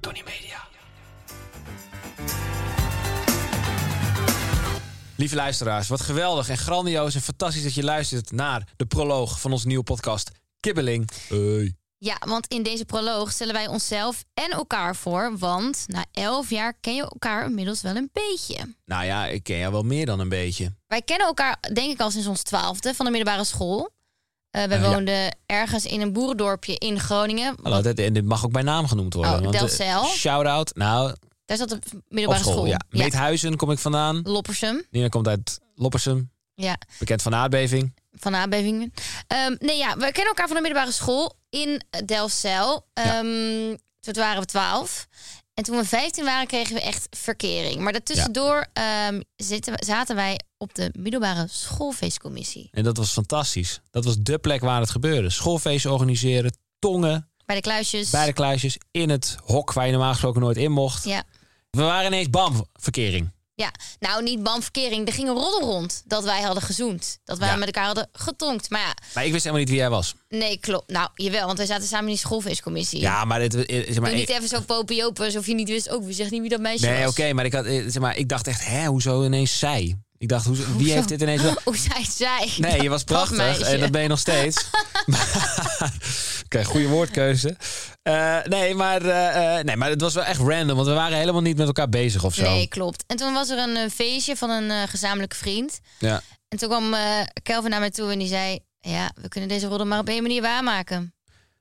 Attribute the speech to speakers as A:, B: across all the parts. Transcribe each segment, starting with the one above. A: Tony Media. Lieve luisteraars, wat geweldig en grandioos en fantastisch dat je luistert naar de proloog van onze nieuwe podcast Kibbeling. Hey.
B: Ja, want in deze proloog stellen wij onszelf en elkaar voor. Want na elf jaar ken je elkaar inmiddels wel een beetje.
A: Nou ja, ik ken jou wel meer dan een beetje.
B: Wij kennen elkaar denk ik al sinds ons twaalfde van de middelbare school. Eh, wij
A: Eh, ja.
B: woonden ergens in een boerendorpje in Groningen.
A: Hallo, dit, en dit mag ook bij naam genoemd worden.
B: Oh,
A: want, eh,
B: Delfzijl?
A: Shout-out. Nou,
B: Daar zat de
A: op
B: middelbare
A: school.
B: school.
A: Ja. Meethuizen kom ik vandaan.
B: Loppersum.
A: Nina komt uit Loppersum,
B: Ja,
A: bekend van de aardbeving.
B: van de aardbevingen. Ehm, nee, ja, we kennen elkaar van de middelbare school in Delfzijl. Ehm Toen waren we twaalf. En toen we 15 waren, kregen we echt verkering. Maar daartussendoor ehm, zitten, we- zaten wij op de middelbare schoolfeestcommissie.
A: En dat was fantastisch. Dat was dé plek waar het gebeurde. Schoolfeesten organiseren, tongen,
B: Bij de kluisjes.
A: bij de kluisjes, in het hok waar je normaal gesproken nooit in mocht.
B: Ja.
A: We waren ineens bam, verkering.
B: ja. Nou, niet banverkering. Er ging een roddel rond dat wij hadden gezoend. Dat wij
A: Ja.
B: met elkaar hadden getonkt. Maar ja,
A: Maar ik wist helemaal niet wie jij was.
B: nee, klopt. Nou, jawel, want wij zaten samen in die schoolfeestcommissie.
A: Ja, maar dit, eh, zeg maar
B: Doe niet
A: ik-
B: even zo popiopen alsof je niet wist ook. We zeggen niet wie dat meisje
A: Nee, oké,
B: was.
A: maar ik had eh, zeg maar ik dacht echt hè, hoezo ineens zij? Ik dacht hoezo, wie heeft dit ineens wel-
B: Hoe zei het zij?
A: Nee, je was
B: Dat
A: prachtig
B: meisje.
A: en dat ben je nog steeds. Maar- Oké, goede woordkeuze. Eh, nee, maar, eh, eh, nee, maar het was wel echt random, want we waren helemaal niet met elkaar bezig of zo.
B: Nee, klopt. En toen was er een eh, feestje van een eh, gezamenlijke vriend.
A: Ja.
B: En toen kwam eh, Kelvin naar mij toe en die zei... Ja, we kunnen deze roddel maar op één manier waarmaken.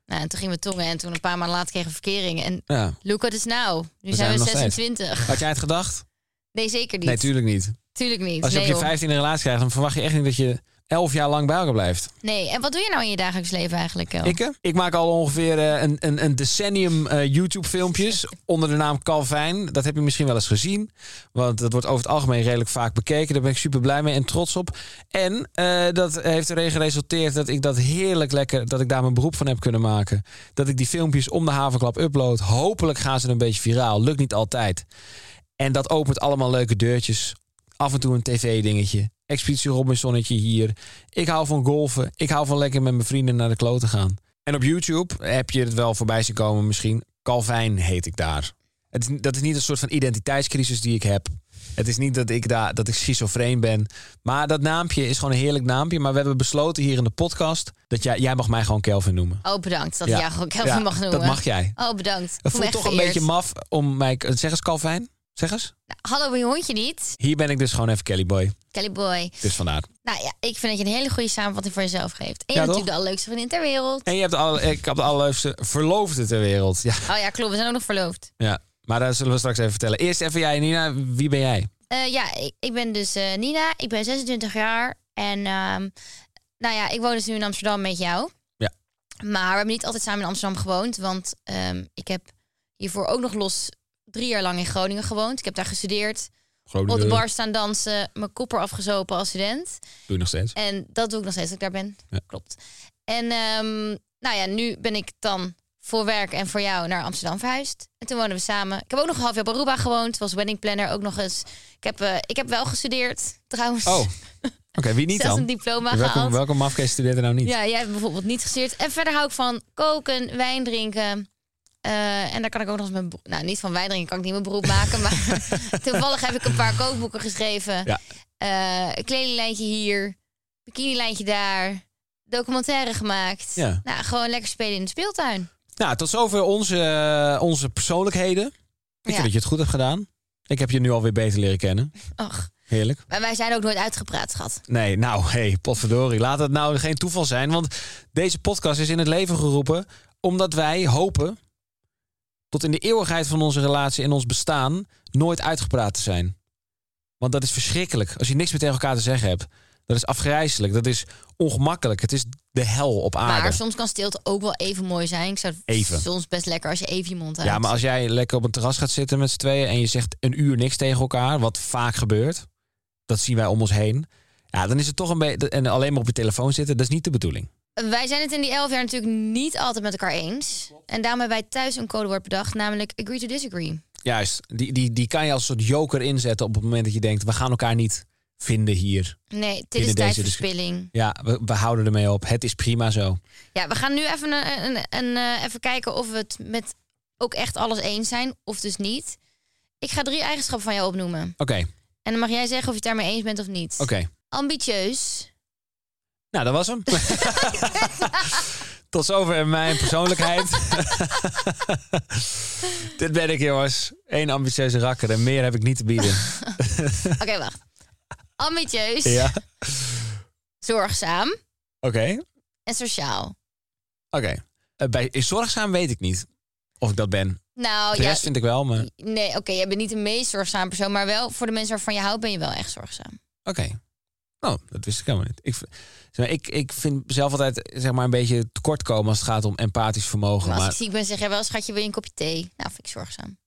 B: Nou, en toen gingen we tongen en toen een paar maanden later kregen we verkering. En
A: ja.
B: look at us now. Nu
A: We zijn
B: zijn,
A: er
B: we
A: nog steeds.
B: 26.
A: Had jij het gedacht?
B: Nee, zeker niet.
A: Nee, tuurlijk niet.
B: Tuurlijk niet.
A: Als je
B: nee,
A: op
B: joh.
A: je 15 een relatie krijgt, dan verwacht je echt niet dat je elf jaar lang bij elkaar blijft.
B: Nee, en wat doe je nou in je dagelijks leven eigenlijk, Kel?
A: Ik, eh, ik maak al ongeveer eh, een, een, een decennium eh, YouTube-filmpjes onder de naam Calvijn. Dat heb je misschien wel eens gezien. Want dat wordt over het algemeen redelijk vaak bekeken. Daar ben ik super blij mee en trots op. En eh, dat heeft erin geresulteerd dat ik dat heerlijk lekker, dat ik daar mijn beroep van heb kunnen maken. Dat ik die filmpjes om de havenklap upload. Hopelijk gaan ze een beetje viraal. Lukt niet altijd. En dat opent allemaal leuke deurtjes. Af en toe een tv-dingetje. Expeditie Robinsonnetje hier. Ik hou van golven. Ik hou van lekker met mijn vrienden naar de kloot te gaan. En op YouTube heb je het wel voorbij zien komen misschien. Calvijn heet ik daar. Het is, dat is niet een soort van identiteitscrisis die ik heb. Het is niet dat ik, daar dat ik schizofreen ben. Maar dat naampje is gewoon een heerlijk naampje. Maar we hebben besloten hier in de podcast... dat jij, jij mag mij gewoon Kelvin noemen.
B: Oh, bedankt dat
A: Ja.
B: ik jou gewoon Kelvin
A: Ja,
B: mag noemen.
A: Dat mag jij.
B: Oh, bedankt. Ik
A: Het
B: voel me
A: voelt
B: echt
A: toch een
B: vereerd.
A: beetje maf om mij... Zeg eens Calvijn. Zeg eens.
B: Hallo, je hondje niet?
A: Hier ben ik dus gewoon even Kelly Boy.
B: Kelly boy.
A: Dus vandaar.
B: Nou ja, ik vind dat je een hele goede samenvatting voor jezelf geeft.
A: Ja,
B: En je
A: toch?
B: bent natuurlijk de allerleukste vriendin ter wereld.
A: En je hebt de alle, ik heb de allerleukste verloofde ter wereld. Ja,
B: Oh ja, klopt. We zijn ook nog verloofd.
A: ja. Maar daar zullen we straks even vertellen. Eerst even jij, Nina. Wie ben jij?
B: Eh, ja, ik, ik ben dus eh, Nina. Ik ben 26 jaar. En ehm, nou ja, ik woon dus nu in Amsterdam met jou.
A: Ja.
B: Maar we hebben niet altijd samen in Amsterdam gewoond. Want ehm, ik heb hiervoor ook nog los drie jaar lang in Groningen gewoond. Ik heb daar gestudeerd. Op de bar staan dansen. Mijn kopper afgezopen als student.
A: Doe je nog steeds.
B: En dat doe ik nog steeds dat ik daar ben.
A: Ja.
B: Klopt. En ehm, nou ja, nu ben ik dan voor werk en voor jou naar Amsterdam verhuisd. En toen woonden we samen. Ik heb ook nog een half jaar op Aruba gewoond. Was wedding planner ook nog eens. Ik heb, eh, ik heb wel gestudeerd, trouwens.
A: Oh, oké. wie niet
B: Zelfs
A: dan?
B: een diploma
A: welke
B: gehaald.
A: welke mafkees studeert er nou niet?
B: Ja, jij hebt bijvoorbeeld niet gestudeerd. En verder hou ik van koken, wijn drinken. Eh, en daar kan ik ook nog eens mijn... beroep- Nou, niet van wijn drinken kan ik niet mijn beroep maken. maar toevallig heb ik een paar kookboeken geschreven.
A: Ja.
B: Eh, een kledinglijntje hier. Bikinilijntje daar. Documentaire gemaakt.
A: Ja.
B: Nou, gewoon lekker spelen in de speeltuin.
A: Nou, tot zover onze, eh, onze persoonlijkheden. Ik
B: Ja.
A: vind dat je het goed hebt gedaan. Ik heb je nu alweer beter leren kennen.
B: Och.
A: Heerlijk.
B: Maar wij zijn ook nooit uitgepraat, schat.
A: Nee, nou, hey, potverdorie. Laat het nou geen toeval zijn. Want deze podcast is in het leven geroepen omdat wij hopen tot in de eeuwigheid van onze relatie en ons bestaan nooit uitgepraat te zijn. Want dat is verschrikkelijk. Als je niks meer tegen elkaar te zeggen hebt, Dat is afgrijzelijk. Dat is ongemakkelijk. Het is de hel op aarde.
B: Maar soms kan stilte ook wel even mooi zijn. Ik zou het
A: Even.
B: soms best lekker als je even je mond houdt.
A: Ja, maar als jij lekker op een terras gaat zitten met z'n tweeën en je zegt een uur niks tegen elkaar, wat vaak gebeurt, dat zien wij om ons heen. Ja, dan is het toch een beetje. En alleen maar op je telefoon zitten, dat is niet de bedoeling.
B: Wij zijn het in die elf jaar natuurlijk niet altijd met elkaar eens. En daarom hebben wij thuis een codewoord bedacht, namelijk agree to disagree.
A: Juist, die, die, die kan je als een soort joker inzetten op het moment dat je denkt, we gaan elkaar niet vinden hier.
B: Nee, dit is
A: Binnen deze
B: tijdverspilling.
A: Ja, we, we houden ermee op. Het is prima zo.
B: Ja, we gaan nu even, een, een, een, eh, even kijken of we het met ook echt alles eens zijn, of dus niet. Ik ga drie eigenschappen van jou opnoemen.
A: Oké,
B: En dan mag jij zeggen of je het daarmee eens bent of niet.
A: oké.
B: Ambitieus.
A: Nou, dat was hem. Tot zover mijn persoonlijkheid. Dit ben ik, jongens. Eén ambitieuze rakker en meer heb ik niet te bieden.
B: Oké, wacht. Ambitieus,
A: Ja, oké.
B: zorgzaam en sociaal.
A: Oké. Eh, bij is zorgzaam weet ik niet of ik dat ben.
B: Nou,
A: De
B: ja,
A: rest vind ik wel, maar oké.
B: nee, oké, jij bent niet de meest zorgzaam persoon, maar wel voor de mensen waarvan je houdt ben je wel echt zorgzaam.
A: Nou, dat wist ik helemaal niet. Ik, v- zeg maar, ik, ik vind mezelf altijd zeg maar, een beetje tekortkomen als het gaat om empathisch vermogen.
B: Maar als
A: Maar,
B: ik ziek ben, zeg jij wel, schatje, wil je een kopje thee? Nou, vind ik zorgzaam.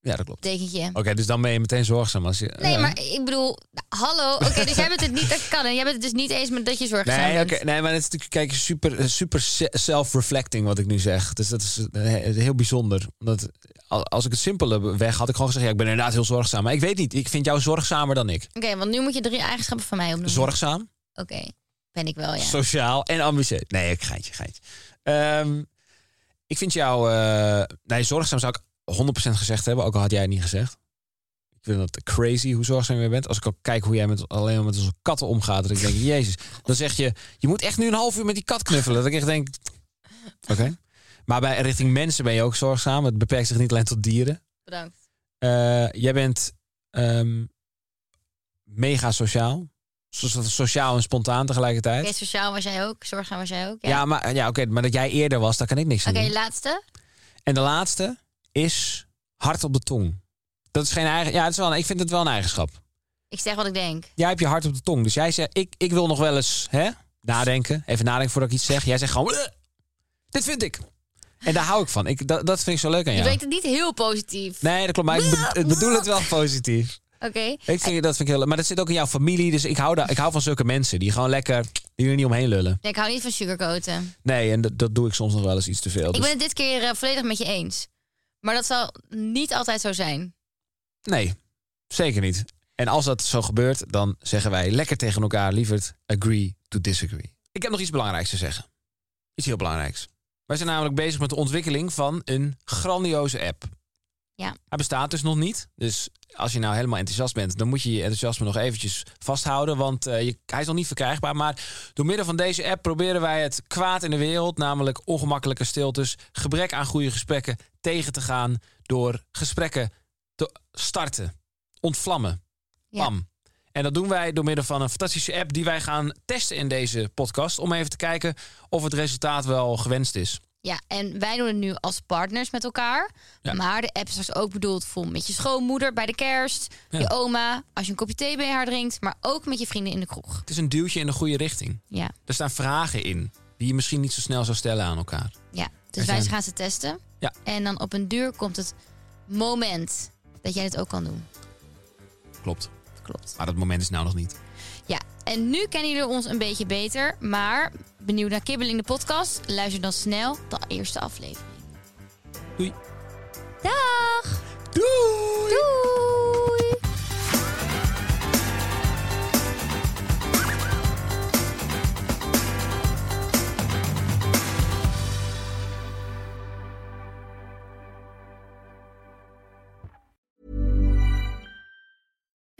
A: ja, dat klopt.
B: Betekent je.
A: Oké, dus dan ben je meteen zorgzaam. Als je, eh,
B: Nee,
A: ja.
B: maar ik bedoel, nou, hallo. Oké, dus jij bent het niet, dat kan. En jij bent het dus niet eens met dat je zorgzaam
A: Nee,
B: bent.
A: oké, nee, maar het is natuurlijk kijk, super, eh, super se- self-reflecting wat ik nu zeg. Dus dat is eh, heel bijzonder. Omdat al- als ik het simpele weg had ik gewoon gezegd, ja, ik ben inderdaad heel zorgzaam. Maar ik weet niet, ik vind jou zorgzamer dan ik.
B: Oké, want nu moet je drie eigenschappen van mij opnoemen.
A: Zorgzaam,
B: Oké, ben ik wel, ja.
A: sociaal en ambitieus. Nee, ik geintje, geintje. Ehm, ik vind jou... eh, nee, zorgzaam zou ik 100% gezegd hebben, ook al had jij het niet gezegd. Ik vind dat crazy hoe zorgzaam je bent. Als ik ook kijk hoe jij met, alleen maar met onze katten omgaat, dat ik denk, jezus. Dan zeg je, je moet echt nu een half uur met die kat knuffelen. Dat ik echt denk, oké. Maar bij, richting mensen ben je ook zorgzaam. Het beperkt zich niet alleen tot dieren.
B: Bedankt.
A: Eh, jij bent ehm, mega sociaal. So- sociaal en spontaan tegelijkertijd.
B: Oké, sociaal was jij ook, zorgzaam was jij ook.
A: Ja,
B: Ja.
A: maar, ja oké, maar dat jij eerder was, daar kan ik niks aan
B: Oké,
A: doen.
B: laatste.
A: En de laatste is hart op de tong. Dat is geen eigen. Ja, het is wel een- ik vind het wel een eigenschap.
B: Ik zeg wat ik denk.
A: Jij hebt je hart op de tong. Dus jij zegt, ik, ik wil nog wel eens hè, nadenken. Even nadenken voordat ik iets zeg. Jij zegt gewoon, "Ugh, dit vind ik. En daar hou ik van. Ik, dat, dat vind ik zo leuk aan jou.
B: Je brengt het niet heel positief.
A: Nee, dat klopt. Maar ik be- ik bedoel het wel positief.
B: Oké.
A: Ik vind, dat vind ik heel leuk. Maar dat zit ook in jouw familie. Dus ik hou, daar, ik hou van zulke mensen. Die gewoon lekker, die er niet omheen lullen.
B: Nee, ik hou niet van sugarcoaten.
A: Nee, en dat, dat doe ik soms nog wel eens iets te veel.
B: Ik
A: Dus,
B: ben het dit keer eh, volledig met je eens. Maar dat zal niet altijd zo zijn.
A: Nee, zeker niet. En als dat zo gebeurt, dan zeggen wij lekker tegen elkaar, lieverd, agree to disagree. Ik heb nog iets belangrijks te zeggen. Iets heel belangrijks. Wij zijn namelijk bezig met de ontwikkeling van een grandioze app.
B: Ja.
A: Hij bestaat dus nog niet. Dus als je nou helemaal enthousiast bent, dan moet je je enthousiasme nog eventjes vasthouden. Want eh, je, hij is nog niet verkrijgbaar. Maar door middel van deze app proberen wij het kwaad in de wereld, namelijk ongemakkelijke stiltes, gebrek aan goede gesprekken, tegen te gaan door gesprekken te starten, ontvlammen.
B: Ja.
A: Pam. En dat doen wij door middel van een fantastische app die wij gaan testen in deze podcast. Om even te kijken of het resultaat wel gewenst is.
B: Ja, en wij doen het nu als partners met elkaar.
A: Ja.
B: Maar de app is straks ook bedoeld voor met je schoonmoeder bij de kerst, je oma, als je een kopje thee bij haar drinkt, maar ook met je vrienden in de kroeg.
A: Het is een duwtje in de goede richting.
B: Ja,
A: Er staan vragen in die je misschien niet zo snel zou stellen aan elkaar.
B: ja. Dus
A: Er
B: wij
A: zijn-
B: gaan ze testen.
A: Ja.
B: En dan op een duur komt het moment dat jij het ook kan doen.
A: Klopt.
B: Klopt.
A: Maar dat moment is nou nog niet.
B: Ja, en nu kennen jullie ons een beetje beter, maar benieuwd naar Kibbeling de podcast? Luister dan snel de eerste aflevering.
A: Doei.
B: Dag!
A: Doei!
B: Doei!